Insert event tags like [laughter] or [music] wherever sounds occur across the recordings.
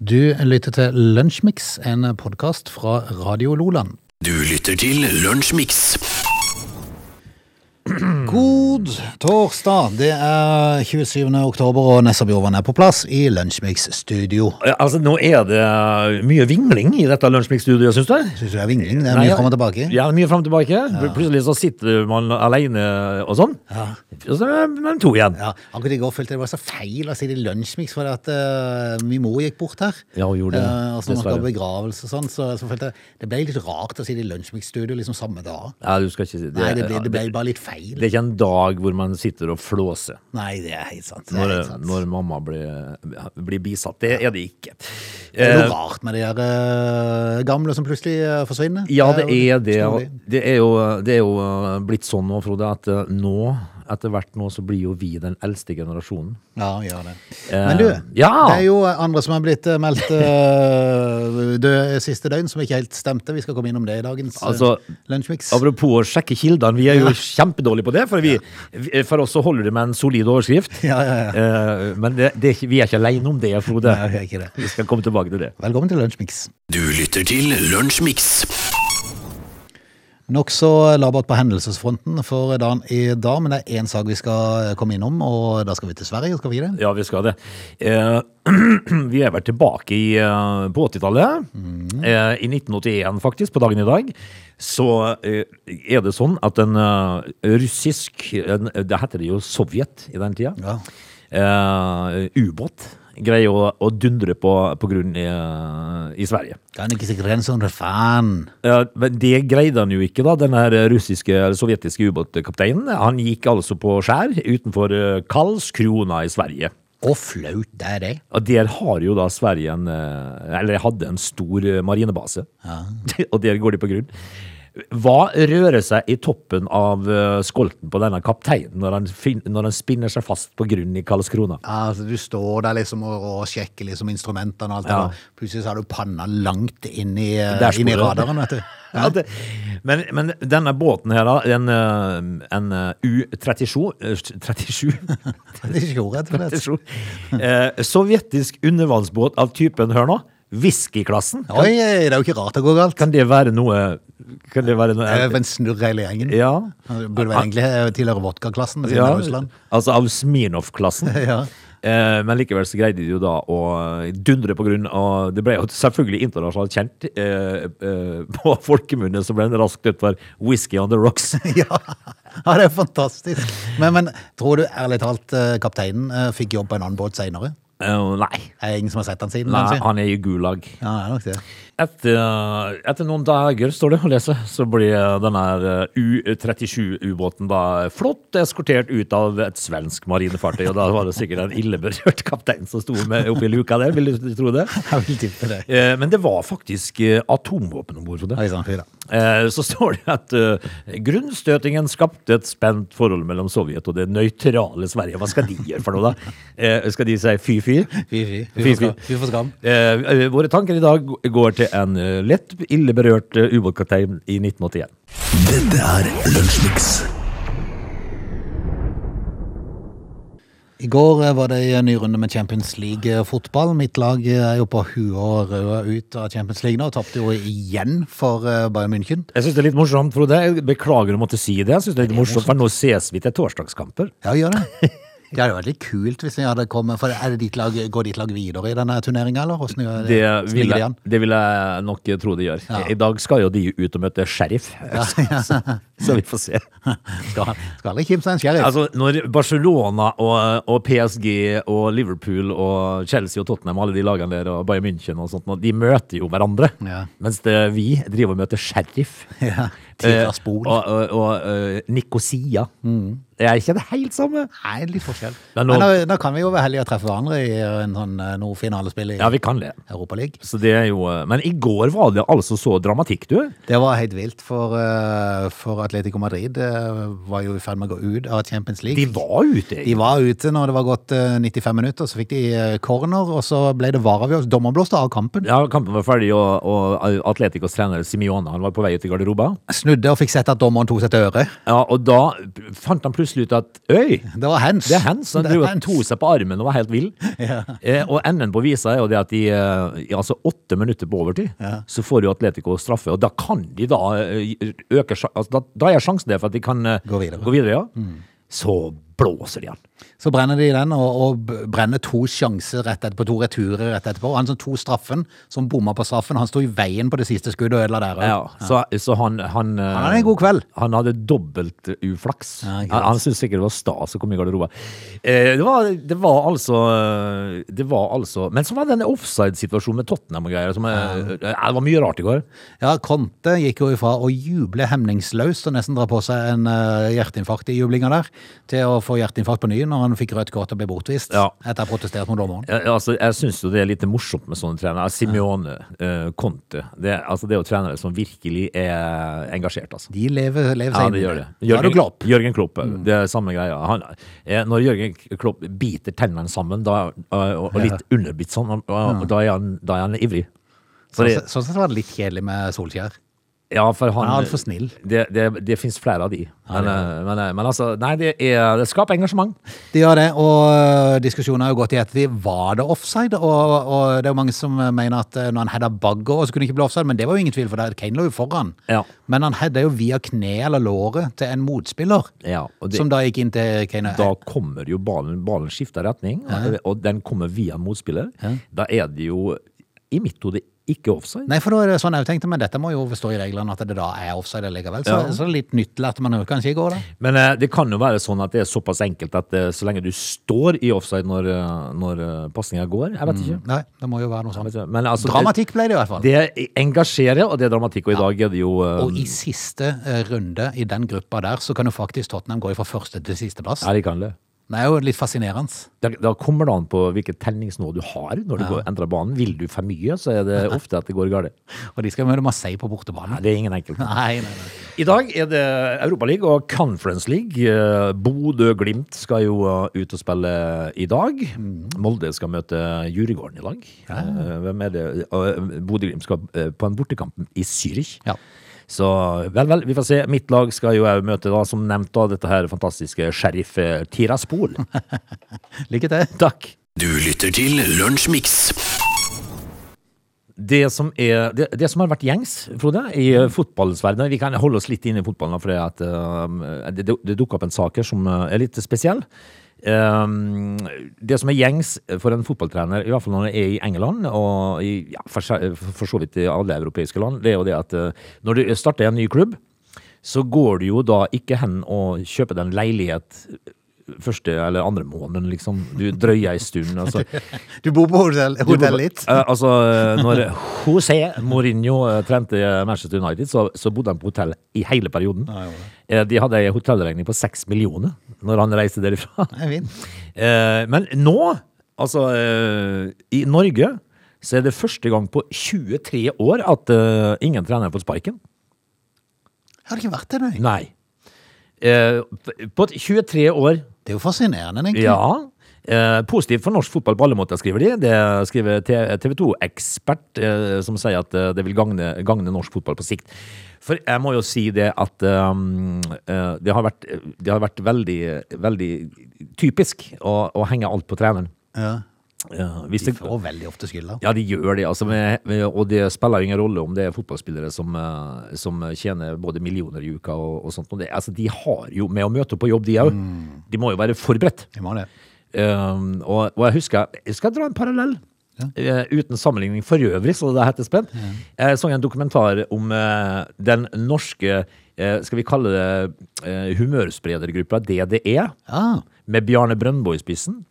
Du lytter til Lunsjmix, en podkast fra Radio Loland. Du lytter til Lunsjmix. God torsdag! Det er 27. oktober, og Nessa Bjorvann er på plass i Lunsjmix studio. Ja, Altså, Nå er det eh, mye vingling i dette Lunsjmix-studioet, syns du? Syns du det er vingling? Det er Nei, mye ja. fram og tilbake. Ja, mye fram og tilbake. Pl- Plutselig så sitter man alene og sånn. Og så er man to igjen. Ja, akkurat i går følte jeg det var så feil å si det i Lunsjmix, for at eh, min mor gikk bort her. Ja, hun gjorde Eh, det, og så når man skal dessverre. ha begravelse og sånn, så, så følte jeg det ble litt rart å si det i Lunsjmix studio liksom samme dag. Ja, du skal ikke si det. Nei, det ble, det ble det- bare litt feil. det er ikke en dag hvor man sitter og flåser Nei, det er helt sant. Det er helt når, sant. når mamma blir, blir bisatt. Det er det ikke. Det er Eh, noe rart med de der eh, gamle som plutselig eh, forsvinner. Ja, det er det. jo og snodig. Det er jo, det er jo eh, blitt sånn nå, Frode, at eh, nå, etter hvert nå, så blir jo vi den eldste generasjonen. Ja, gjør det. Eh, Men du, ja. det er jo andre som har blitt eh, meldt eh, død siste døgn, som ikke helt stemte. Vi skal komme innom det i dagens eh, Altså, lunsjmix. Apropos å sjekke kildene, vi er jo kjempedårlige på det. For, vi, vi- for oss så holder det med en solid overskrift. Ja, ja, ja. Eh, Men det, det, er ikke- vi er ikke alene om det, Frode. Nei, vi er ikke det. Vi skal komme tilbake til det. Velkommen til lunsjmix. Du lytter til Lunsjmix. Nokså labert på hendelsesfronten for dagen i dag, men det er én sak vi skal eh, komme innom, og da skal vi til Sverige, skal vi ikke det? Ja, vi skal det. Eh, [clears throat] Vi er vel tilbake i, eh, på 80-tallet. Mm. Eh, I 1981, faktisk, på dagen i dag. Så eh, er det sånn at en eh, russisk en, Det heter det jo Sovjet i den tida. Ja. eh, ubåt greier å, å dundre på, på grunn i, eh, i Sverige. Kan ikke sikkert rense under fan. Eh, men det greide han jo ikke, da, den her russiske, eller sovjetiske ubåtkapteinen. Han gikk altså på skjær utenfor eh, Karlskrona i Sverige. Å, flaut det er det. Og der har jo da Sverige en eh, Eller hadde en stor eh, marinebase. [laughs] og der går de på grunn. Hva rører seg i toppen av eh, skolten på denne kapteinen når han, fin når han spinner seg fast på grunn i Karlskrona? Ja, altså, du står der liksom og, og sjekker liksom instrumentene og alt Ja. det der. Plutselig så har du panna langt inn i, eh, Der sporer inn i den. radaren, vet du. [laughs] Ja, det, men, men denne båten her, da, en, eh, en eh, U-37 eh, 37, Det er ikke rett [laughs] og slett. 37 eh, Sovjetisk undervannsbåt av typen, hør nå, Whisky-klassen. Oi, det er jo ikke rart det går galt. Kan det være noe Kan det være Det er noe jo en snurr hele gjengen. Ja. Det Burde vel egentlig eh, tilhøre vodkaklassen, siden det ja er Russland. [laughs] altså av Smirnov-klassen. Ja. Eh, Men likevel så greide de jo da å dundre på grunn av Det ble jo selvfølgelig internasjonalt kjent eh, eh, på [laughs] folkemunne, så ble den raskt døpt for Whisky on the [laughs] Rocks. Ja. ja, det er fantastisk. Men, men tror du ærlig talt eh, kapteinen eh, fikk jobb på en annen båt seinere? Eh, Nei. Er det ingen som har sett han siden? Nei, kanskje? han er i Gulag. Ja, det er nok det. [laughs] Etter, etter noen dager, står det å lese, så blir denne her U-37-ubåten da flott eskortert ut av et svensk marinefartøy, og da var det sikkert en illeberørt kaptein som sto med oppi luka der, vil du tro det? Jeg vil tippe det. Eh, Men det var faktisk eh, atomvåpen om bord på det. Oi sann, fy da. Eh, Så står det at eh, grunnstøtingen skapte et spent forhold mellom Sovjet og det nøytrale Sverige. Hva skal de gjøre for noe, da? Eh, Skal de si fy-fy? Fy, fy. Fy Fy, fy. for skam. Fy for skam. Eh, eh, våre tanker i dag går til en eh, lett ille berørt eh, ubåtkaptein i 1981. Dette er Lunsjmix. I går eh, var det en ny runde med Champions League-fotball. Mitt lag eh, er jo på huet og røde ut av Champions League nå, og tapte jo igjen for eh, Bayern München. Jeg syns det er litt morsomt, Frode. Jeg beklager å måtte si det. Jeg synes det er litt morsomt, for Nå ses vi til torsdagskamper. Ja, gjør [laughs] det. Det hadde vært litt kult hvis de hadde kommet, for er det ditt lag, går ditt lag videre i denne turneringen, eller? Hvordan gjør Det vil, ligger jeg, det vil jeg nok tro de gjør. Ja. I dag skal jo de ut og møte sheriff, [laughs] så, [laughs] så vi får se. [laughs] Skal, skal aldri kimse av en sheriff. Altså, når Barcelona og, og PSG og Liverpool og Chelsea og Tottenham, alle de lagene der, og Bayern München og sånt, nå, de møter jo hverandre. Ja. Mens det, vi driver og møter Sheriff. [laughs] Ja, Tiraspol. Eh, og og, og eh, Nikosia. Det er ikke det helt samme. Mm. Nei, litt forskjell. Men Men nå- da, da kan vi jo være heldige å treffe hverandre i en sånn eh, noe finalespill i Ja, vi kan det. Europa League. Så det er jo, eh, men i går var det altså så dramatikk, du. Det var helt vilt, for, eh, for Atletico Madrid eh, var jo i ferd med å gå ut av Champions League. De var ute. De var ute når det var gått eh, 95 minutter, så fikk de eh, corner, og så ble det vareavgjørelse. Dommer blåste av kampen. Ja, Kampen var ferdig, og, og Atleticos trener Simione han var på vei ut i garderoba. snudde og fikk sett at dommeren tok seg et øre. Ja, og da fant han plutselig ut at Øy, Det var hands. det er hands! Han Det er drev og hands. to seg på armen og var helt [laughs] vill. Eh, og enden på visa er jo det at de, eh, i altså åtte minutter på overtid, så får jo Atletico straffe. Og da kan de da eh, øke sja- altså, da, da er sjansen der for at de kan eh, Gå videre. Mm. ja. Så blåser de han. Så brenner de den, og, og b- brenner to sjanser rett etterpå, to returer rett etterpå. Han som tok straffen, som bomma på straffen, han sto i veien på det siste skuddet og ødela der òg. Ja, så, så han Han, eh, Han hadde en god kveld. Han hadde dobbelt uflaks. Ja, ikke sant. han han syntes sikkert det var stas å komme i garderoben. Eh, det, var, det var altså eh, Det var altså Men så var det den offside-situasjonen med Tottenham og greier. Som, eh, eh, Det var mye rart i går. Ja, Conte gikk jo ifra å juble hemningsløst og nesten dra på seg en eh, hjerteinfarkt i jublinga der, til å få hjerteinfarkt på ny når han fikk rødt kort og ble bortvist Ja. etter å ha protestert mot dommeren. Jeg, altså, jeg syns jo det er litt morsomt med sånne trenere. Simione, eh, Conte. Det, er- altså, det er jo trenere som virkelig er engasjert, altså. De lever, lever Ja, seg det inn i gjør det. Da er du Klopp. Jørgen Klopp, eh, det er samme greia. Han, eh, når Jørgen Klopp biter tennene sammen da, eh, og, og litt underbitt sånn, og, og, da, er han, da er han ivrig. Så Sånn det, sett sånn sett var det litt kjedelig med Solskjær. ja, for han, Han er altfor snill. Det, det, det fins flere av de. Men, eh, men, eh, men altså, nei, det, er, det skaper engasjement. Det gjør det, og øh, diskusjonen har jo gått i ettertid. Var det offside? Og, og det er jo mange som øh, mener at øh, når han heada bagger, så kunne det ikke bli offside, men det var jo ingen tvil, for der Kane lå jo foran. Ja. Men han heada jo via kne eller låret til en motspiller, Ja, og det, som da gikk inn til Kane. da kommer jo ballen, ballen skifter retning, og, og den kommer via motspiller. Da er det jo, i mitt hode, ikke offside. Nei, for da er det sånn jeg tenkte, men dette må jo stå i reglene at det da er offside likevel. Så, Ja. så det er litt nytt lærte man jo kanskje i går, da. Men eh, det kan jo være sånn at det er såpass enkelt at eh, så lenge du står i offside når, eh, når eh, pasninga går Jeg vet ikke. Nei, det må jo være noe Jeg sånt. vet ikke. Men altså, Mm. Dramatikk ble det i hvert fall. Det, det engasjerer, og det er dramatikk. Og i dag er det jo eh, Og i siste øh, runde i den gruppa der, så kan jo faktisk Tottenham gå fra første til sisteplass. er det ikke annerledes. Det er jo litt fascinerende. Da, da kommer det an på hvilket tenningsnivå du har når du går, endrer banen. Vil du for mye, så er det ofte at det går galt. Og de skal møte Marseille på bortebane. Nei, det er ingen enkelt. Nei, nei, nei. I dag er det Europaliga og Conference League. Eh, Bodø-Glimt skal jo eh, ut og spille i dag. Molde skal møte Jurigården i dag. Eh, Hvem er det? Eh, Bodø-Glimt skal eh, på en bortekamp i Zürich. Ja. Så vel, vel, vi får se. Mitt lag skal jo òg møte, da, som nevnt, da, dette her fantastiske Sheriff eh, Tiraspol. Lykke til. Takk. Du lytter til Lunsjmix. det som, er, det, det som har vært gjengs, Frode, i eh, fotballens verden Vi kan holde oss litt inne i fotballen, da, for det, at, eh, det, det dukker opp en sak her som eh, er litt spesiell. Eh, det som er gjengs for en fotballtrener, i hvert fall når han er i England, og i, ja, for, se- for så vidt i alle europeiske land, det er jo det at eh, når du starter en ny klubb, så går du jo da ikke hen og kjøper deg en leilighet første eller andre måneden, liksom. Du drøyer ei stund. Altså. Du bor på hotell, hotell litt. Eh, altså, eh, når [laughs] José Mourinho eh, trente eh, Manchester United, så, så bodde han på hotell i hele perioden. Eh, de hadde ei hotellregning på seks millioner når han reiste derifra. [laughs] Nei, fint. Eh, men nå, altså eh, I Norge så er det første gang på 23 år at eh, ingen trener har fått sparken. Har det ikke vært det, nei? Nei. Eh, p- på 23 år Det er jo fascinerende, egentlig. Ja. Eh, positivt for norsk fotball på alle måter, skriver de. Det skriver TV 2-ekspert, eh, som sier at eh, det vil gagne, gagne norsk fotball på sikt. For jeg må jo si det at um, eh, det, har vært, det har vært veldig, veldig typisk å, å henge alt på treneren. Ja. Eh, hvis De det- får veldig ofte skylda. ja, de gjør det, altså, men- men- og det spiller jo ingen rolle om det er fotballspillere som, eh, som tjener både millioner i uka og, og sånt. Og det, altså, de har jo med å møte opp på jobb, de òg. De må jo være forberedt. De må det. Um, og, og jeg husker Jeg skal dra en parallell. Eh, uten sammenligning for øvrig, så det heter spent. Jeg så en dokumentar om eh, den norske eh, Skal vi kalle det eh, humørspredergruppa DDE, Ja. med Bjarne Brøndbo i spissen.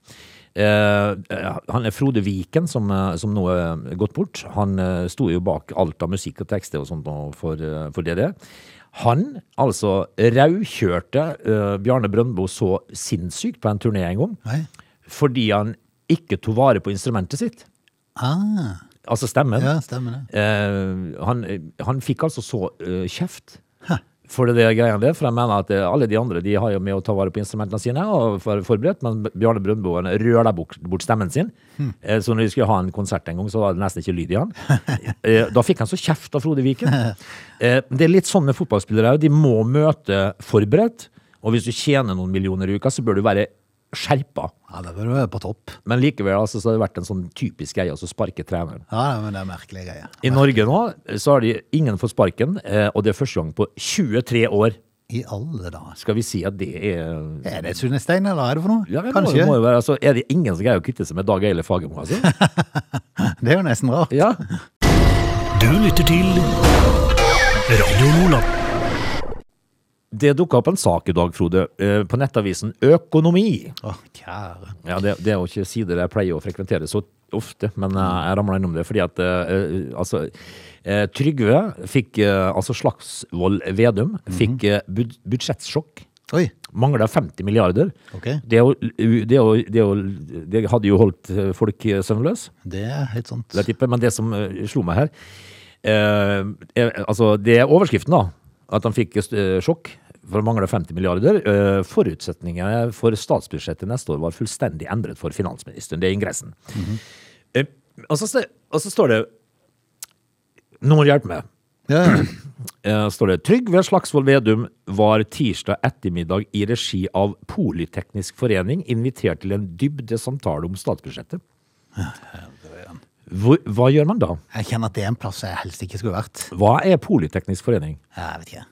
Eh, eh, han er Frode Viken, som, eh, som nå er gått bort. Han eh, sto jo bak alt av musikk og tekster og sånt nå for, eh, for DDE. Han altså raukjørte eh, Bjarne Brøndbo så sinnssykt på en turné en gang Nei. fordi han ikke tok vare på instrumentet sitt. Ah. Altså stemmen. Ja, stemmer det. Eh, han, han fikk altså så eh, kjeft For det er greia det, for jeg mener at eh, alle de andre de har jo med å ta vare på instrumentene sine og for, forberedt, men Bjarne Brøndboen røla bort, bort stemmen sin. Eh, Så når de skulle ha en konsert en gang, så var det nesten ikke lyd i han. Eh, Da fikk han så kjeft av Frode Viken. Eh, Det er litt sånn med fotballspillere òg. De må møte forberedt. Og hvis du tjener noen millioner i uka, så bør du være skjerpa. Ja, det bør du være på topp. Men likevel altså, så har det vært en sånn typisk greie å så sparke treneren. Ja, men det er merkelige greier. I Norge nå så har de ingen fått sparken, eh, og det er første gang på 23 år. I alle dager. Skal vi si at det er Er det Sunnestein, eller hva er det for noe? Ja, det må- Kanskje. Må jo være, altså, er det ingen som greier å kvitte seg med Dag Eile Fagermo, altså? Det er jo nesten rart. Ja. Du lytter til Radio Lola. Det dukka opp en sak i dag, Frode, eh, på nettavisen Økonomi. Å, kjære. Ja, det, det er jo ikke sider jeg pleier å frekventere så ofte, men eh, jeg ramla innom det fordi at eh, eh, Altså, eh, Trygve fikk eh, Altså Slagsvold Vedum fikk eh, bud budsjettsjokk. Oi. Mangla 50 milliarder. Ok. Det, er jo, det, er jo, det, er jo, det hadde jo holdt eh, folk eh, søvnløse. Det er helt sant. vil jeg tippe. Men det som eh, slo meg her eh, er, Altså, det er overskriften, da. At han fikk eh, sjokk for å mangle 50 milliarder. Eh, forutsetningene for statsbudsjettet neste år var fullstendig endret for finansministeren. Det er ingressen. Eh, og, så, st- og så står det Noen hjelper meg. Ja, ja. Eh, står det Trygve Slagsvold Vedum var tirsdag ettermiddag i regi av Politeknisk forening invitert til en dybdesamtale om statsbudsjettet. Hvor, hva gjør man da? Jeg kjenner at det er en plass jeg helst ikke skulle vært. Hva er Politeknisk forening? Jeg vet ikke.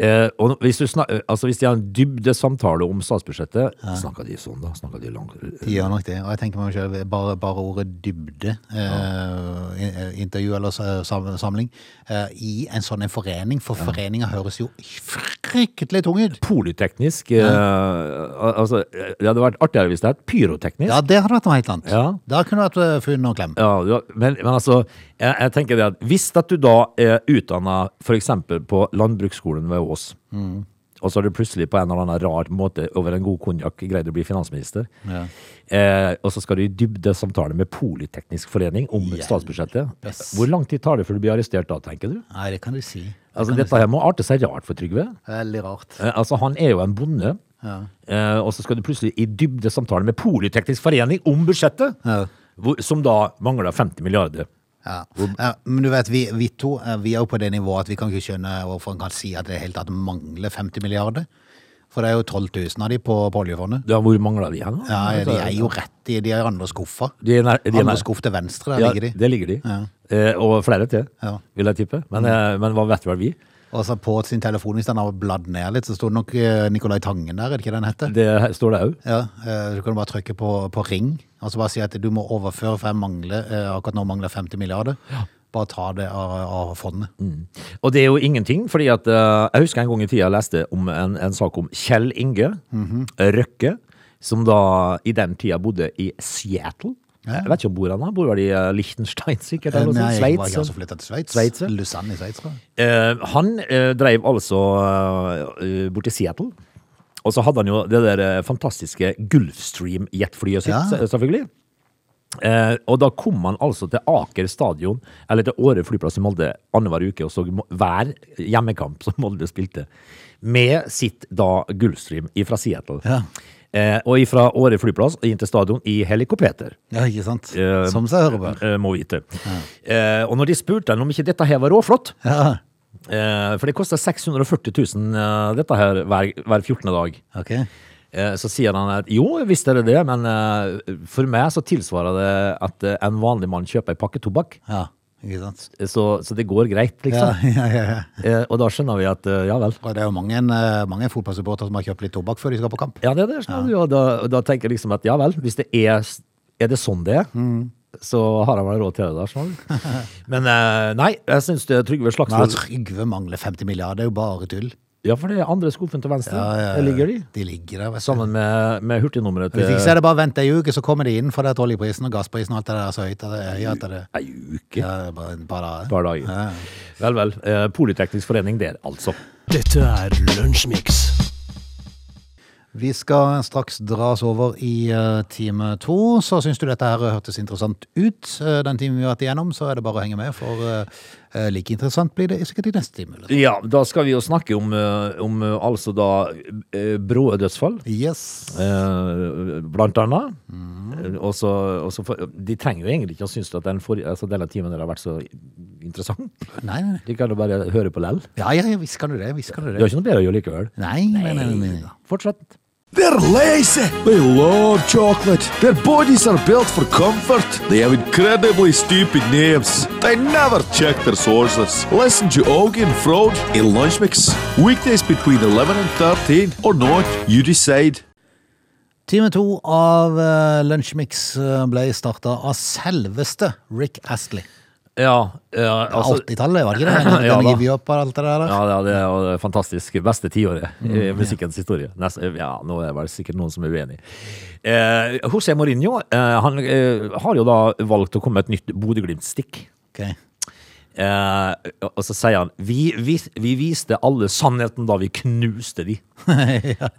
Eh, og hvis, du snak, eh, altså hvis de har en dybdesamtale om statsbudsjettet, snakker de sånn da? Snakker de langt? De gjør nok det. Og jeg tenker meg selv, bare, bare ordet dybde, eh, i- eh, intervju eller sa- sam- samling, eh, i en sånn en forening, for foreninger høres jo fryktelig tung ut. Politeknisk eh, al- altså, eh, Det hadde vært artigere hvis det het pyroteknisk. Ja, det hadde vært noe helt annet. Ja. Da kunne det vært eh, funn og klem. Ja, du har- men, men altså, jeg, jeg tenker det at hvis at du da er utdanna f.eks. på landbruksskolen ved Ås, Mm. og så har du plutselig på en eller annen rar måte over en god konjakk greid å bli finansminister, eh, og så skal du i dybdesamtale med Politeknisk forening om statsbudsjettet. Yes. Hvor lang tid tar det før du blir arrestert da, tenker du? Nei, det kan du si. Altså, dette her må arte seg rart for Trygve. Veldig rart. Eh, altså, han er jo en bonde. Eh, og så skal du plutselig i dybdesamtale med Politeknisk forening om budsjettet, Ja. hvor, som da mangler 50 milliarder. Ja. Ja, men du vet, vi, vi to eh, vi er jo på det nivået at vi kan ikke skjønne hvorfor en kan si at det helt tatt mangler 50 milliarder. For det er jo 12 000 av de på, på oljefondet. Ja, hvor mangler de hen? da? Ja, de er jo rett i de er i andre skuffa. De er nær- de er nær- Andre skuff til venstre, der Ja, ligger de. Der ligger de. Eh, og flere til, Ja. Mm. vil jeg tippe. Men, eh, men hva vet vel vi? Og så på sin telefon, hvis den har bladd ned litt, så står det nok eh, Nicolai Tangen der, er det ikke den heter? Det her står det òg. Ja, eh, så kan du bare trykke på, på ring, og så bare si at du må overføre, for jeg mangler, eh, akkurat nå mangler jeg 50 milliarder. Bare ta det av, av fondet. Og det er jo ingenting, fordi at eh, jeg husker en gang i tida jeg leste om en, en sak om Kjell Inge Mhm. Røkke, som da i den tida bodde i Seattle. Jeg vet ikke om bor han da, bor vel i eh, Liechtenstein sikkert, eller noe sånt. jeg var Sveits. ikke altså flyttet til Sveits. Sveits, ja. Lausanne i Sveits, tror jeg. Eh, han eh, drev altså eh, bort til Seattle. Og så hadde han jo det der eh, fantastiske Gulfstream-jetflyet sitt, Ja. se- selvfølgelig. Eh, og da kom han altså til Aker stadion, eller til Åre flyplass i Molde, annenhver uke og så må- hver hjemmekamp som Molde spilte, med sitt da Gulfstream fra Seattle. Ja. Eh, og fra Åre flyplass og inn til stadion i helikopter. Ja, ikke sant? Eh, Som seg hører bør. Eh, må vite. Eh, og når de spurte han om ikke dette her var råflott, Ja, Eh, for det koster 640 000 eh, dette her hver, hver 14. dag. ok. Eh, så sier han at jo, visst er det det, men eh, for meg så tilsvarer det at eh, en vanlig mann kjøper en pakke tobakk. eh, Ja, ikke sant? Så, så det går greit, Ja, liksom. ja, ja, ja. Eh, og da skjønner vi at eh, ja vel. Og det er jo mange, eh, mange fotballsupporter som har kjøpt litt tobakk før de skal på kamp. Ja, det er det. skjønner du, Og da, og da tenker jeg liksom at ja vel, hvis det er, er det sånn det er, Mm. så har han vel råd til det. [laughs] da, skjønner du. Men eh, nei, jeg syns Trygve Nei, Slagsvold Trygve mangler 50 milliarder, det er jo bare tull. Ja, for det er andre skuffen til venstre. Ja, ja, Der ligger de. De ligger der, vet du. Sammen med, med hurtignummeret Hvis ikke til så er det bare å vente ei uke, så kommer de inn for det at oljeprisen og gassprisen og alt det der er så høyt. at Det er høy at det Ei uke. ja, det er bare et par dager. Et par dager. Vel, vel. Eh, Politeknisk forening der, altså. Dette er Lunsjmix. Vi skal straks dras over i eh, time to. Så syns du dette her hørtes interessant ut, eh, den timen vi har vært igjennom, så er det bare å henge med, for eh, eh, like interessant blir det sikkert i neste time. eller? Ja, da skal vi jo snakke om, eh, om eh, altså da eh, bråe dødsfall. Yes. Eh, blant annet. Mhm. Eh, og så- og så for, de trenger jo egentlig ikke å synes at den forrige- altså denne timen der har vært så interessant. Nei, nei, nei. De kan jo bare høre på lell. Ja, ja, ja, visst kan du det. Visst kan du Det er det. ikke noe bedre å gjøre likevel. Nei, nei, nei. nei, nei. Fortsett. They're lazy. They love chocolate. Their bodies are built for comfort. They have incredibly stupid names. They never check their sources. Listen to Augie and Frode in Lunch Mix. Weekdays between 11 and 13 or not, you decide. Time to av eh, Lunsjmix eh, ble starta av selveste Rick Astley. Ja, ja, altså, 80-tallet, var det ikke det? Den, [laughs] Ja, den da. gir vi opp og alt det der. ja, ja, det er jo det fantastiske beste tiåret i musikkens historie. Nest, ja, nå er det vel sikkert noen som er uenig. Eh, José Mourinho eh, han eh, har jo da valgt å komme med et nytt Bodø-Glimt-stikk. Ok. Eh, og så sier han vi, vis- vi viste alle sannheten da vi knuste de.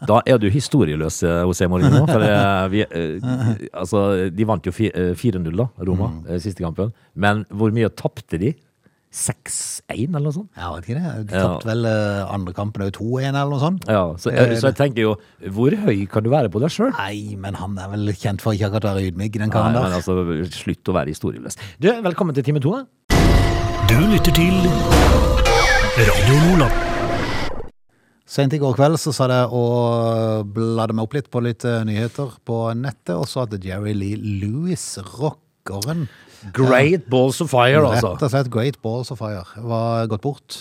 Da er du historieløs, eh, José Mourinho. For eh, vi, eh, altså, de vant jo fi- eh, 4-0, da, Roma, eh, siste kampen. Men hvor mye tapte de? 6-1, eller noe sånt? Ja, vet ikke det. De Ja. tapte vel eh, andre kampen òg 2-1 eller noe sånt. Ja, så, eh, så jeg tenker jo, hvor høy kan du være på deg sjøl? Nei, men han er vel kjent for ikke akkurat å være ydmyk, den karen der. Altså, slutt å være historieløs. Du, velkommen til time to. da. Du lytter til Radio Lola. Sent i går kveld så sa det å blade meg opp litt på litt eh, nyheter på nettet, og så at Jerry Lee Lewis, rockeren Great balls of fire, altså. Rett og slett Great Balls of Fire var gått bort.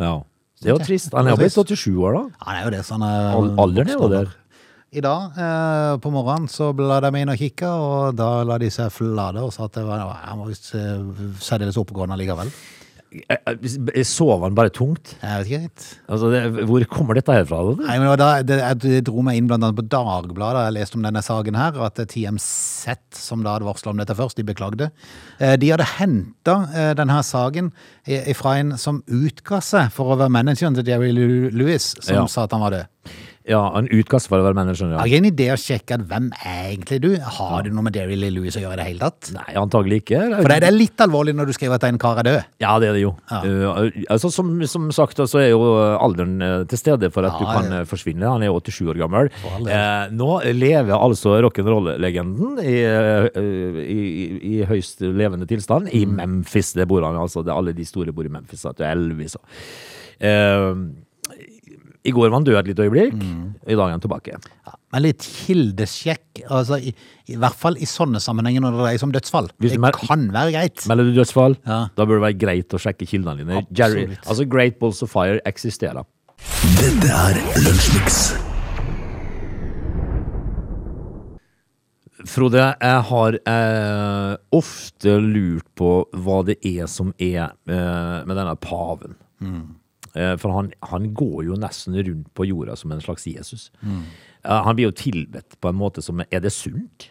Ja. Det er jo trist. Han er jo blitt 87 år, da. Han er jo det, så han er Al- alderen er jo der. I dag eh, på morgenen så bla de inn og kikka, og da la de seg flate og sa at det var, han var visst eh, særdeles oppegående likevel. Jeg- jeg- jeg Sov eh, han bare tungt? Jeg vet ikke helt. Altså, det, hvor kommer dette her fra? da? Nei, men det var da, det, jeg det dro meg inn blant annet på Dagbladet, jeg leste om denne saken her, at TMZ, som da hadde varslet om dette først, de beklagde. Eh, De hadde hentet eh, denne her saken i- fra en som utga seg for å være manageren til Jerry Lew- Lewis, som Ja. sa at han var død. Ja, en utkast for å være manager, ja. Har ikke en idé å sjekke at hvem er egentlig du? Har du noe med Jerry Lee Lewis å gjøre i det hele tatt? Nei, antagelig ikke. For det det er litt alvorlig når du skriver at en kar er død. Ja, det er det jo. Ja. Eh, altså, som, som sagt, så er jo alderen eh, til stede for at Ja, du kan ja. eh, forsvinne. Han er jo 87 år gammel. all del. Eh, nå lever altså rock'n'roll-legenden i, eh, i, i, i høyst levende tilstand i Mm. Memphis. Det bor han altså. Det, alle de store bor i Memphis. At det er Elvis og Eh, I går var han død et lite øyeblikk. Mm. I dag er han tilbake. Ja, men litt kildesjekk, altså i, i hvert fall i sånne sammenhenger når det dreier seg om dødsfall. Hvis det du mer- kan være greit. Melder du dødsfall, Ja. da bør det være greit å sjekke kildene dine. Jerry, Absolutt. altså Great Balls of Fire eksisterer. Frode, jeg har eh, ofte lurt på hva det er som er eh, med denne paven. Mm. Eh, for han, han går jo nesten rundt på jorda som en slags Jesus. Mm. Eh, han blir jo tilbedt på en måte som Er det sunt?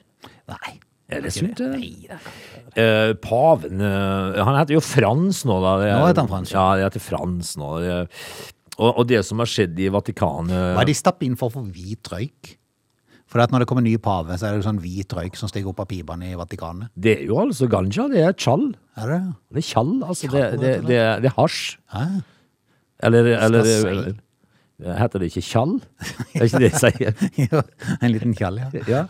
Nei. Er det sunt? eller? Eh, paven eh, Han heter jo Frans nå, da. Nå heter han Frans, Ja, det heter Frans nå. Eh, Og, og det som har skjedd i Vatikanet Hva er de stappet inn for for hvit røyk? For at når det kommer ny pave, så er det jo sånn hvit røyk som stiger opp av pipene i Vatikanet. Det er jo altså ganja. Det er tjall. Er det? [laughs] Det er tjall, altså. Det, Tjall, det, vet du det, det er hasj. Hæ? Eller, eller jeg si? eller- Heter det ikke tjall? Er ikke det jeg sier? [laughs] Jo, en liten kjall, ja. Ja.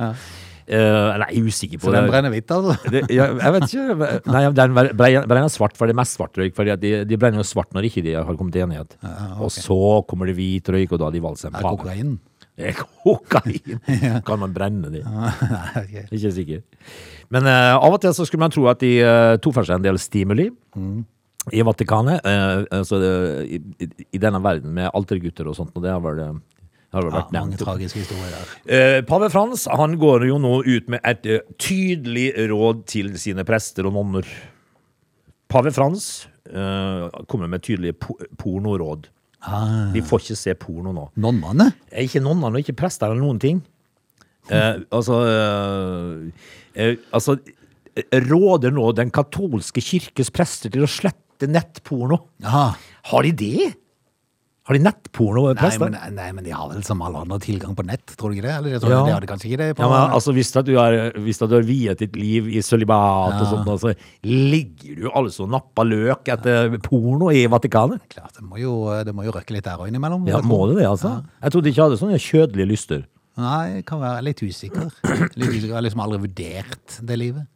Eh, nei, jeg er usikker på Så den det. brenner hvitt, altså. det ja, jeg vet ikke. Nei, den bre- brenner svart, for det er mest svart røyk. For de, de brenner jo svart når ikke de har kommet til enighet. Og så kommer det hvit røyk, og da har de valgt seg Er en det pave. kokain? Det er [laughs] kokain! Kan man brenne det? Nei, ok. Ikke sikker. Men eh, av og til så skulle man tro at de uh, tok for seg en del stimuli. Mm. I Vatikanet, eh, altså, eh, i, i, i denne verden med altergutter og sånt, og det har vel, eh, har vel Ja, vært mange nevnt. tragiske historier der. Eh, Pave Frans han går jo nå ut med et eh, tydelig råd til sine prester og nonner. Pave Frans eh, kommer med tydelige po pornoråd. Ah. De får ikke se porno nå. Nonnene? Eh, Ikke nonner og ikke prester eller noen ting. Eh, altså eh, eh, Altså eh, Råder nå den katolske kirkes prester til å slette nettporno? Ja. Har de det? Har Har de nettporno? eh, Nei press, da? men, nei, men de har vel som alle andre tilgang på nett, tror du ikke det? Eller jeg tror Ja. de hadde kanskje ikke det? På, Ja, men altså Hvis at du har, hvis at du har viet ditt liv i sølibat og sånt, altså, ligger du altså og napper løk etter porno i Vatikanet? Klart, det må jo, det må jo røkke litt der og innimellom. Ja, jeg Må tror. du det, altså? Jeg trodde ikke jeg hadde sånne kjødelige lyster. Nei, jeg kan være litt usikker. Litt usikker, Jeg har liksom aldri vurdert det livet.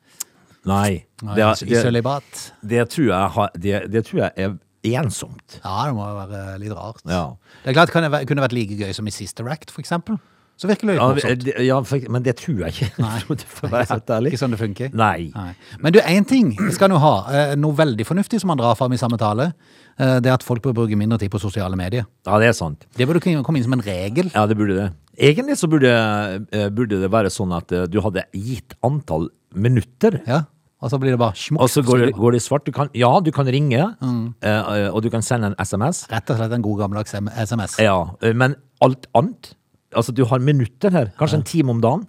Nei. Nei, altså, Det, I er- det, sølibat. det, tror, jeg har, det, det tror jeg er ensomt. Ja, det må jo være litt rart. Ja. Det er klart det kan være- kunne vært like gøy som i Sister Act, for eksempel. Så virker det litt Ja, morsomt. det- ja, for- men det tror jeg ikke. For å være helt ærlig. Ikke sånn det funker. [laughs] Nei. Nei. Men du, én ting skal du ha. eh, Noe veldig fornuftig som han drar fram i samme tale. eh, Det er at folk bør bruke mindre tid på sosiale medier. Ja, det er sant. Det burde kunne komme inn som en regel. Ja, det burde det. Egentlig så burde, eh, burde det være sånn at eh, du hadde gitt antall minutter. Ja. Og så blir det bare smokk. Og så går, det- blir går det svart. Du kan, ja, du kan ringe, Mm. eh, og du kan sende en SMS. det Rett og slett en god gammeldags M- SMS. Ja, eh, men alt annet Altså, du har minutter her. Kanskje en time om dagen.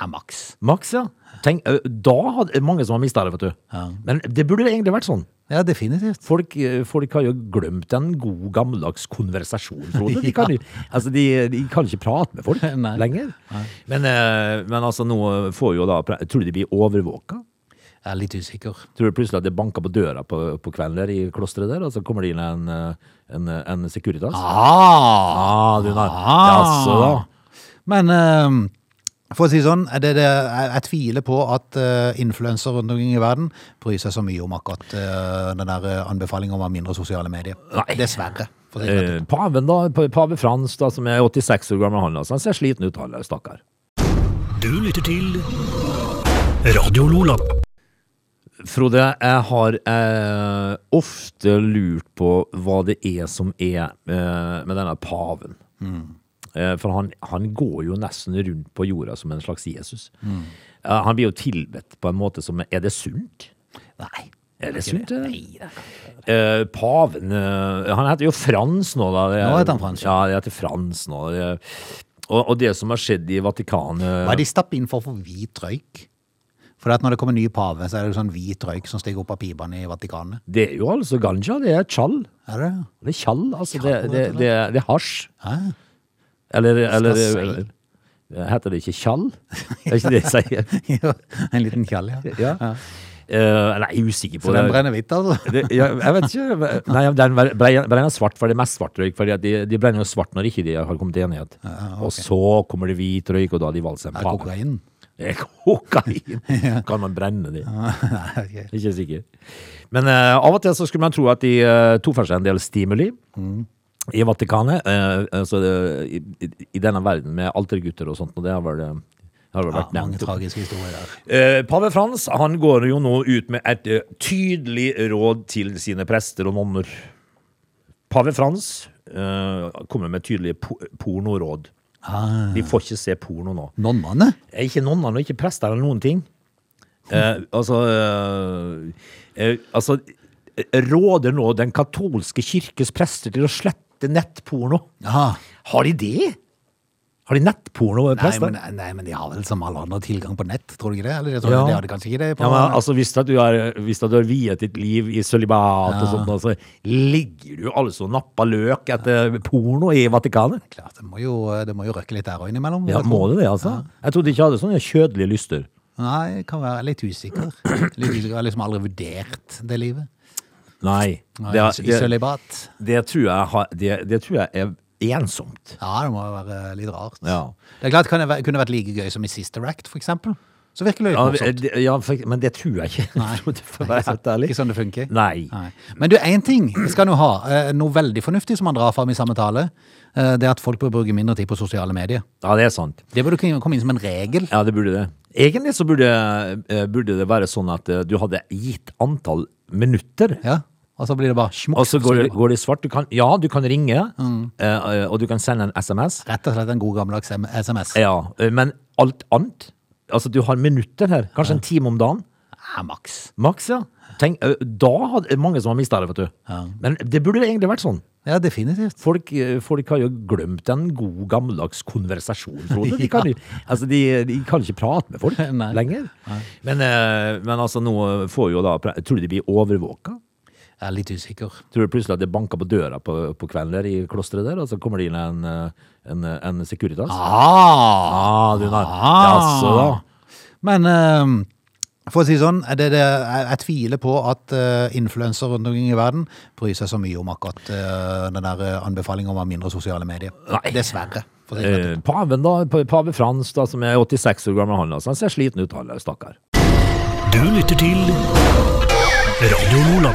Ja, maks. Maks, ja. Tenk, eh, da hadde det er mange som har mista det, vet du. Men det burde egentlig vært sånn. Ja, definitivt. Folk, eh, folk har jo glemt en god, gammeldags konversasjon, [laughs] Frode. De kan, jo- altså, de, de kan ikke prate med folk Nei. lenger. Men, eh, men altså, nå får jo da pre- Tror du de blir overvåka? Jeg er litt usikker. Tror du plutselig at det banker på døra på, på kvelden der i klosteret der, og så kommer det inn en, eh, en, en Securitas? Ah! Ah, du nar. Ah. Ja, så da. Men ehm, for å si sånn, det, det, jeg, jeg tviler på at uh, influensere rundt omkring i verden bryr seg så mye om akkurat eh, den der eh, anbefalingen om å ha mindre sosiale medier. Nei. Dessverre. For å si det sånn. rett ut. Eh, paven da, pa- pave Frans da, som er 86 år gammel han, altså, han ser sliten ut han, der, stakkar. Du lytter til Radio Lola. Frode, jeg har eh, ofte lurt på hva det er som er eh, med denne paven. Eh, for han, han går jo nesten rundt på jorda som en slags Jesus. Eh, han blir jo tilbedt på en måte som Er det sunt? Nei. Er det sunt? det? Eh, paven eh, Han heter jo Frans nå, da. Det er- Nå heter han Frans, Ja, det heter Frans nå. Det er- Og, og det som har skjedd i Vatikanet Hva er de stapper inn for for hvit røyk? For at når det kommer ny pave, så er det jo sånn hvit røyk som stiger opp av pipene i Vatikanet. Det er jo altså ganja, det er tjall. Er det? Det er tjall, altså. Det, Tjall, det, rett og slett. det, det er hasj. Hæ? Eller, eller jeg si? Heter det ikke tjall? Er ikke det jeg sier? [laughs] Jo, en liten kjall, ja. Ja. Eh, nei, jeg er usikker på Så den det. brenner hvitt, [laughs] altså. det ja, jeg vet ikke. Nei, den bre- brenner svart, for det er mest svart røyk. For de, de brenner jo svart når ikke de har kommet til enighet. Og så kommer det hvit røyk, og da har de valgt seg Er en Ah, det pave. kokain? [laughs] Det er kokain! Kan man brenne det? Nei, ok. Ikke sikker. Men eh, av og til så skulle man tro at de uh, tok for seg en del stimuli. I Vatikanet, eh, altså, eh, i, i, i denne verden med altergutter og sånt, og det har vel, eh, har vel Ja, vært mange nevnt. tragiske historier der. Eh, Pave Frans han går jo nå ut med et eh, tydelig råd til sine prester og nonner. Pave Frans eh, kommer med tydelige po pornoråd. Ah. De får ikke se porno nå. Nonnene? Eh, Ikke nonnene og ikke prester eller noen ting. Eh, altså, eh, eh, altså eh, Råder nå den katolske kirkes prester til å slette nettporno? Ja. Har de det? Har de nettporno, eh, Nei prester? men, nei, men de har vel som alle andre tilgang på nett, tror du ikke det? Eller jeg tror Ja. de hadde kanskje ikke det? På, ja, men altså Hvis at du har, hvis at du har viet ditt liv i sølibat og sånt, altså, ligger du altså og napper løk etter porno i Vatikanet? Klart, det, må jo, det må jo røkke litt der og innimellom. Ja, jeg Må tror. du det, altså? Jeg trodde ikke jeg hadde sånne kjødelige lyster. Nei, jeg kan være litt usikker. Litt usikker. Jeg har liksom aldri vurdert det livet. Nei. Nei, Det, altså, I det, sølibat. det, tror, jeg har, det, det tror jeg er ensomt. Ja, det må jo være litt rart. Ja. Det er klart det kan være- kunne vært like gøy som i Sister Act, for eksempel. Så virker det litt Ja, [laughs] morsomt. det- ja, for- men det tror [laughs] jeg ikke. Nei. For å være helt ærlig. Ikke sånn det funker. Nei. Nei. Men du, én ting skal du ha. eh, Noe veldig fornuftig som han drar fram i samme tale. eh, Det er at folk bør bruke mindre tid på sosiale medier. Ja, det er sant. Det burde kunne komme inn som en regel. Ja, det burde det. Egentlig så burde, eh, burde det være sånn at eh, du hadde gitt antall minutter. Ja. Og så Mm. blir det bare smokk. Og så går, det- går det svart. Du kan, ja, du kan ringe, eh, eh, og du kan sende en SMS. Rett og slett en god gammeldags M- SMS. Ja, eh, men alt annet Altså, du har minutter her. Kanskje en time om dagen. Ja, maks. Maks, ja. Tenk, eh, da hadde det er mange som har mista det, vet du. Men det burde egentlig vært sånn. Ja, definitivt. Folk, eh, folk har jo glemt en god, gammeldags konversasjon, [laughs] Frode. De kan, jo- altså, de, de kan ikke prate med folk Nei. lenger. Men, eh, men altså, nå får jo da pre- Tror du de blir overvåka? Jeg er litt usikker. Tror du plutselig at det banker på døra på, på kvelden der i klosteret der, og så kommer det inn en, eh, en, en Securitas? Ah, du nar- Jaså da. Men eh, for å si det sånn, det, det, jeg, jeg tviler på at uh, influensere rundt omkring i verden bryr seg så mye om akkurat eh, den der eh, anbefalingen om å ha mindre sosiale medier. Nei. Dessverre. For å si det. Eh, paven, da. pa- Pave Frans, da, som er 86 år gammel, han, altså. Han ser sliten ut, han der, stakkar. Du lytter til Radio Lola.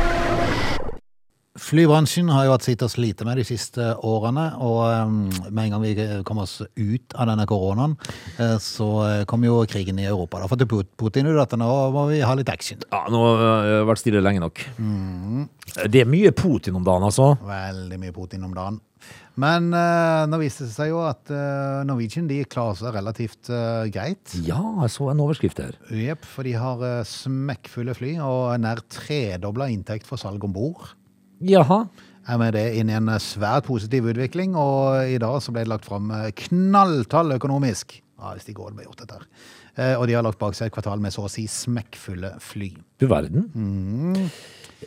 Flybransjen har jo hatt sitt å slite med de siste årene, og eh, med en gang vi kom oss ut av denne koronaen, eh, så eh, kom jo krigen i Europa. Da fikk Put- Putin ut at nå må vi ha litt action. Ja, nå eh, har jeg vært stille lenge nok. Eh, Det er mye Putin om dagen, altså. Veldig mye Putin om dagen. Men eh, nå viste det seg jo at eh, Norwegian de klarer seg relativt eh, greit. Ja, jeg så en overskrift her. Jepp, for de har eh, smekkfulle fly og nær tredobla inntekt for salg om bord. Jaha. er med det inn i en eh, svært positiv utvikling, og i dag så ble det lagt fram eh, knalltall økonomisk. Ja, hvis de går det blir gjort dette her. Eh, Og de har lagt bak seg et kvartal med så å si smekkfulle fly. Du verden.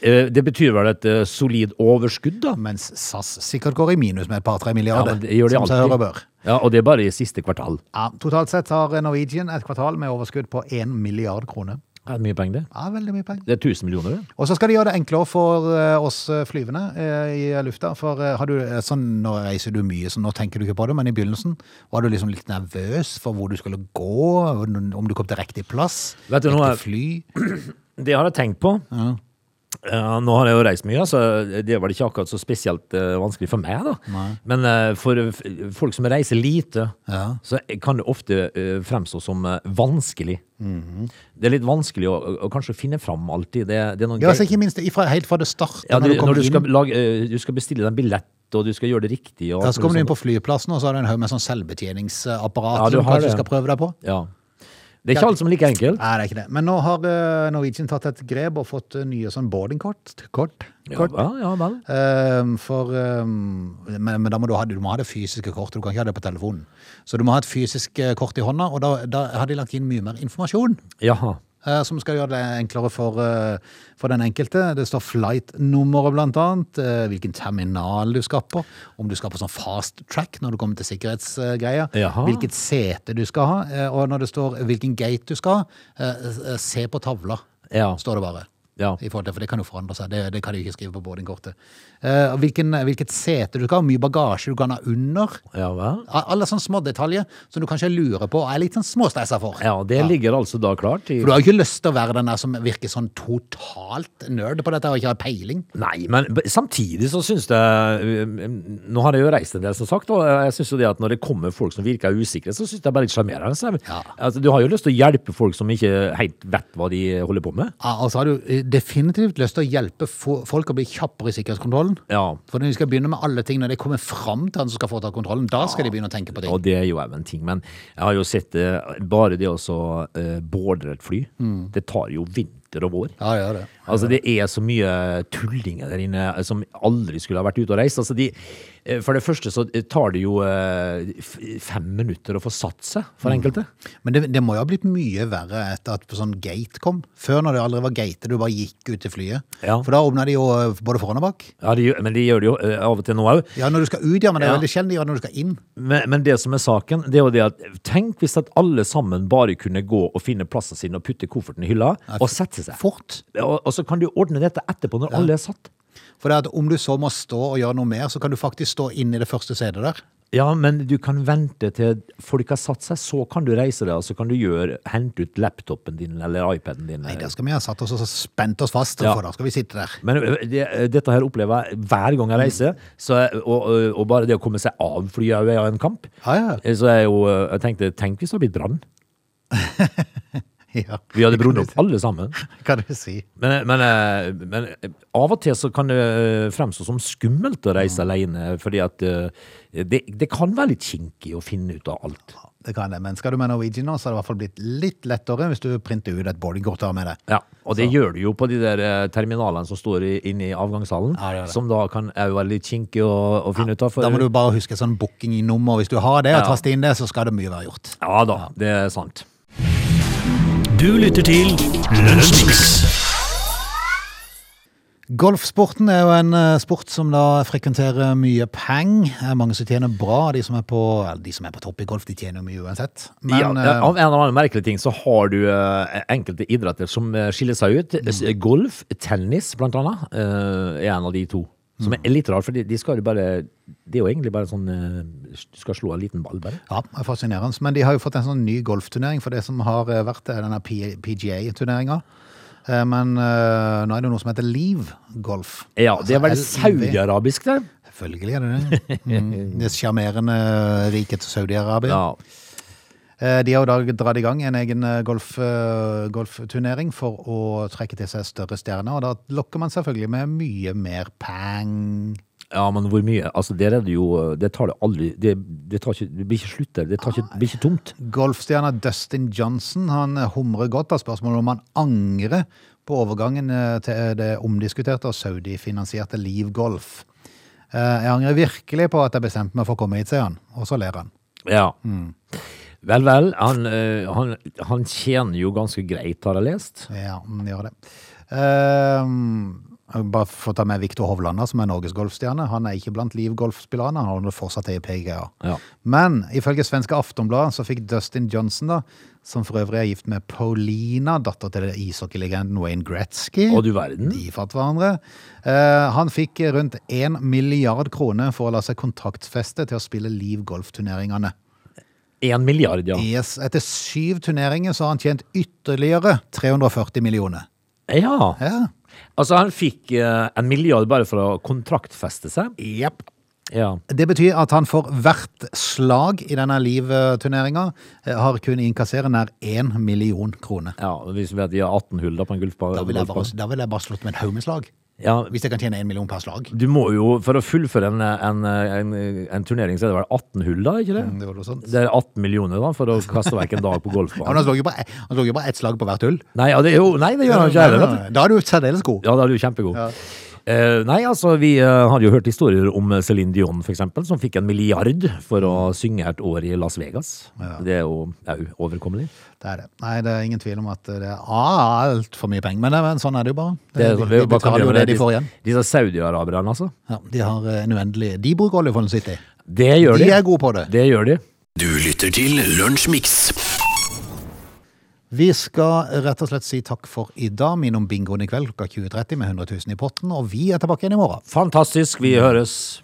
Eh, Det betyr vel et eh, solid overskudd, da? Mens SAS sikkert går i minus med et par-tre Ja, milliarder, men det gjør de som seg hør og alltid. bør. Ja, og det er bare i siste kvartal. Ja, totalt sett har Norwegian et kvartal med overskudd på 1 milliard kroner. Det er mye penger, det. Ja, veldig mye penger. Det er 1000 millioner, det. Og så skal de gjøre det enklere for eh, oss eh, flyvende eh, i lufta. For eh, har du, eh, sånn, nå reiser du mye, så nå tenker du ikke på det, men i begynnelsen var du liksom litt nervøs for hvor du skulle gå, om du kom til riktig plass, Vet du, riktig nå er- fly. Det har jeg tenkt på. Eh, nå har jeg jo reist mye, så det var ikke akkurat så spesielt eh, vanskelig for meg. da. Men eh, for eh, f- folk som reiser lite, Ja. så kan det ofte eh, fremstå som eh, vanskelig. Mhm. Det er litt vanskelig å, å, å kanskje finne fram alltid. Det, det er noen Ja, altså grei- ikke minst ifra, helt fra det startet, ja, når du, du når kommer du skal, inn. lage, eh, du skal bestille deg en billett, og du skal gjøre det riktig. Og Ja, alt så kommer du mulig inn på sånt. flyplassen, og så har du en haug med sånn selvbetjeningsapparat Ja, du som har kanskje det. skal prøve deg på. Ja. Det er ikke alt som er like enkelt. Nei, det er ikke det. Men nå har eh, Norwegian tatt et grep og fått eh, nye sånn boardingkort. Kort. Ja, Kort. vel, ja vel. Ehm, For, ehm, men, men da må du, ha, det- du må ha det fysiske kortet, du kan ikke ha det på telefonen. Så du må ha et fysisk eh, kort i hånda, og da, da har de lagt inn mye mer informasjon. Jaha. eh, Som skal gjøre det enklere for, eh, for den enkelte. Det står flight-nummeret blant annet, eh, hvilken terminal du skal på, om du skal på sånn fast track når du kommer til sikkerhetsgreier, Jaha. hvilket sete du skal ha, eh, og når det står hvilken gate du skal ha, eh, eh, se på tavla, Ja. står det bare Ja. i forhold til, for det kan jo forandre seg. Det, det kan de jo ikke skrive på boardingkortet. Eh, og hvilken, hvilket sete du skal ha, hvor mye bagasje du kan ha under. ja vel. A- Alle sånne smådetaljer som du kanskje lurer på og er litt sånn småstressa for. Ja, det ligger altså da klart. I, For du har jo ikke lyst til å være den der som virker sånn totalt nerd på dette og ikke har peiling. Nei, men b- samtidig så syns jeg um, um, Nå har jeg jo reist en del, som sagt, og jeg syns jo det at når det kommer folk som virker usikre, så syns jeg det er bare litt sjarmerende. så jeg- Ja. Altså, du har jo lyst til å hjelpe folk som ikke helt vet hva de holder på med. Ja, og så har du eh, definitivt lyst til å hjelpe fo- folk å bli kjappere i sikkerhetskontrollen. Ja, For når de skal begynne med alle ting, når de kommer fram til han som skal få ta kontrollen, da skal de begynne å tenke på ting. og det er jo også en ting, men jeg har jo sett eh, bare det også uh, boarde et fly. Det tar jo vinter og vår. Ja, det gjør det. Altså, det er så mye tullinger der inne eh, som aldri skulle ha vært ute og reist. Altså, de, eh, for det første så tar det jo eh, f- fem minutter å få satt seg, for enkelte. Men det, det må jo ha blitt mye verre etter at sånn gate kom. Før når det aldri var gate, du bare gikk ut til flyet. Ja. For da åpna de jo eh, både foran og bak. Ja, de, gjør- men de gjør det jo eh, av og til nå òg. Ja, når du skal ut, ja, men det er Ja. veldig sjelden de gjør det når du skal inn. Men, men det som er saken, det er jo det at tenk hvis at alle sammen bare kunne gå og finne plassen sin og putte kofferten i hylla og sette seg. Fort. Og, og så kan du ordne dette etterpå, når alle er satt. For det at om du så må stå og gjøre noe mer, så kan du faktisk stå inn i det første setet der. Ja, men du kan vente til folk har satt seg, så kan du reise deg, og så kan du gjøre, hente ut laptopen din eller iPaden din. Nei, der skal vi ha satt oss og så spent oss fast, Ja. for da skal vi sitte der. [laughs] Men ø, det, eh, dette her opplever jeg hver gang jeg reiser, så, jeg- og, og, og bare det å komme seg av flyet er jo en kamp. Eh, Ja, ja. Så jeg, jo, ø, jeg tenkte, tenk hvis det hadde blitt brann. Ja, Vi hadde brudd opp alle sammen. [laughs] kan du si. Men, men, eh, men eh, av og til så kan det eh, fremstå som skummelt å Mm. reise alene, fordi at eh, det, det kan være litt kinkig å finne ut av alt. Det kan det, men skal du med Norwegian nå, så har det i hvert fall blitt litt lettere hvis du printer ut et boardingkort og har med deg. Ja, og det gjør du jo på de der eh, terminalene som står i- inne i avgangshallen, Ja, det gjør det. som da kan er jo være litt kinkig å, å finne ut av. For, Da må du bare huske sånn bookingnummer. Hvis du har det og Ja. taster inn det, så skal det mye være gjort. Ja da, det er sant. Du lytter til Lunsjmix. Golfsporten er jo en eh, sport som da frekventerer mye peng. Eh, Mange som tjener bra. De som er på, eller de som er på topp i golf, de tjener jo mye uansett. Men ja, eh, av en eller annen merkelig ting så har du eh, enkelte idretter som eh, skiller seg ut. Mm. S- Golf, tennis blant annet, eh, er en av de to. Som Mm. er litt rar, for de, de skal jo bare Det er jo egentlig bare sånn eh, Du skal slå en liten ball, bare. Ja, det er fascinerende. Men de har jo fått en sånn ny golfturnering for det som har eh, vært eh, denne PGA-turneringa. Men eh, nå er det jo noe som heter Leave Golf. Ja, det er vel Altså, LIV. saudiarabisk, det. Selvfølgelig er det det. Mm, det sjarmerende riket til Saudi-Arabia. Ja. Eh, De har jo da dratt i gang en egen eh, golf, eh, golfturnering for å trekke til seg større stjerner, og da lokker man selvfølgelig med mye mer peng. ja, men hvor mye? Altså, der er det jo Det tar det aldri Det, det, tar ikke, det blir ikke slutt der. Det, tar ikke, det blir ikke tomt. Golfstjerna Dustin Johnson han eh, humrer godt av spørsmålet om han angrer på overgangen eh, til det omdiskuterte og Saudi-finansierte Liv Golf. Eh, Jeg angrer virkelig på at jeg bestemte meg for å komme hit, sier han. Og så ler han. Ja. Mm. Vel, vel. Han, eh, han, han tjener jo ganske greit, har jeg lest. Ja, han gjør det. Eh, jeg vil Bare få ta med Viktor Hovlanda, som er Norges golfstjerne. Han er ikke blant Liv golfspillerne, han holder fortsatt til i PGA. Ja. Men ifølge svenske Aftonbladet så fikk Dustin Johnson, da, som for øvrig er gift med Paulina, datter til ishockeylegenden Wayne Gretzky Og du verden. De fant hverandre. Eh, han fikk rundt 1 milliard kroner for å la seg kontraktfeste til å spille Liv golfturneringene. Én milliard, ja. Yes, etter syv turneringer så har han tjent ytterligere 340 millioner. Ja. Ja. Altså, han fikk eh, en milliard bare for å kontraktfeste seg. Ja. Det betyr at han for hvert slag i denne Liv-turneringa eh, har kunnet innkassere nær 1 million kroner. ja hvis vi vet de har 18 hull da på en gullpar. Da ville jeg, bare- da vil jeg bare slått med en haug med slag. Ja, Hvis jeg kan tjene 1 million per slag. du må jo, for å fullføre en, en, en, en turnering, så er det vel 18 hull da, ikke det? Mm, det var noe sånt. Det er 18 millioner da, for å kaste vekk en dag [laughs] på Ja, men golfbanen. han slår jo bare, han slår jo bare ett slag på hvert hull. Nei, ja, det, er jo, nei, det gjør han ikke heller, vet du. Da er du særdeles god. Ja, da er du kjempegod. Eh, nei, altså, vi eh, har jo hørt historier om eh, Celine Dion, for eksempel, som fikk en milliard for å Mm. synge et år i Las Vegas. Det er jo det er jo overkommelig. Det er det. Nei, det er ingen tvil om at det er altfor mye penger. Men, det er- men sånn er det jo bare. Det er, de, sånn, de hva kan vi betaler jo gjøre med det de får igjen. Disse saudi-araberne, altså. Ja, de har eh, en uendelig De bruker oljefondet sitt, de. Det gjør de. De er gode på det. Det gjør de. Du lytter til Lunsjmix. Vi skal rett og slett si takk for i dag. Minn om bingoen i kveld klokka 20.30 med 100 000 i potten. Og vi er tilbake igjen i morgen. Fantastisk. Vi høres.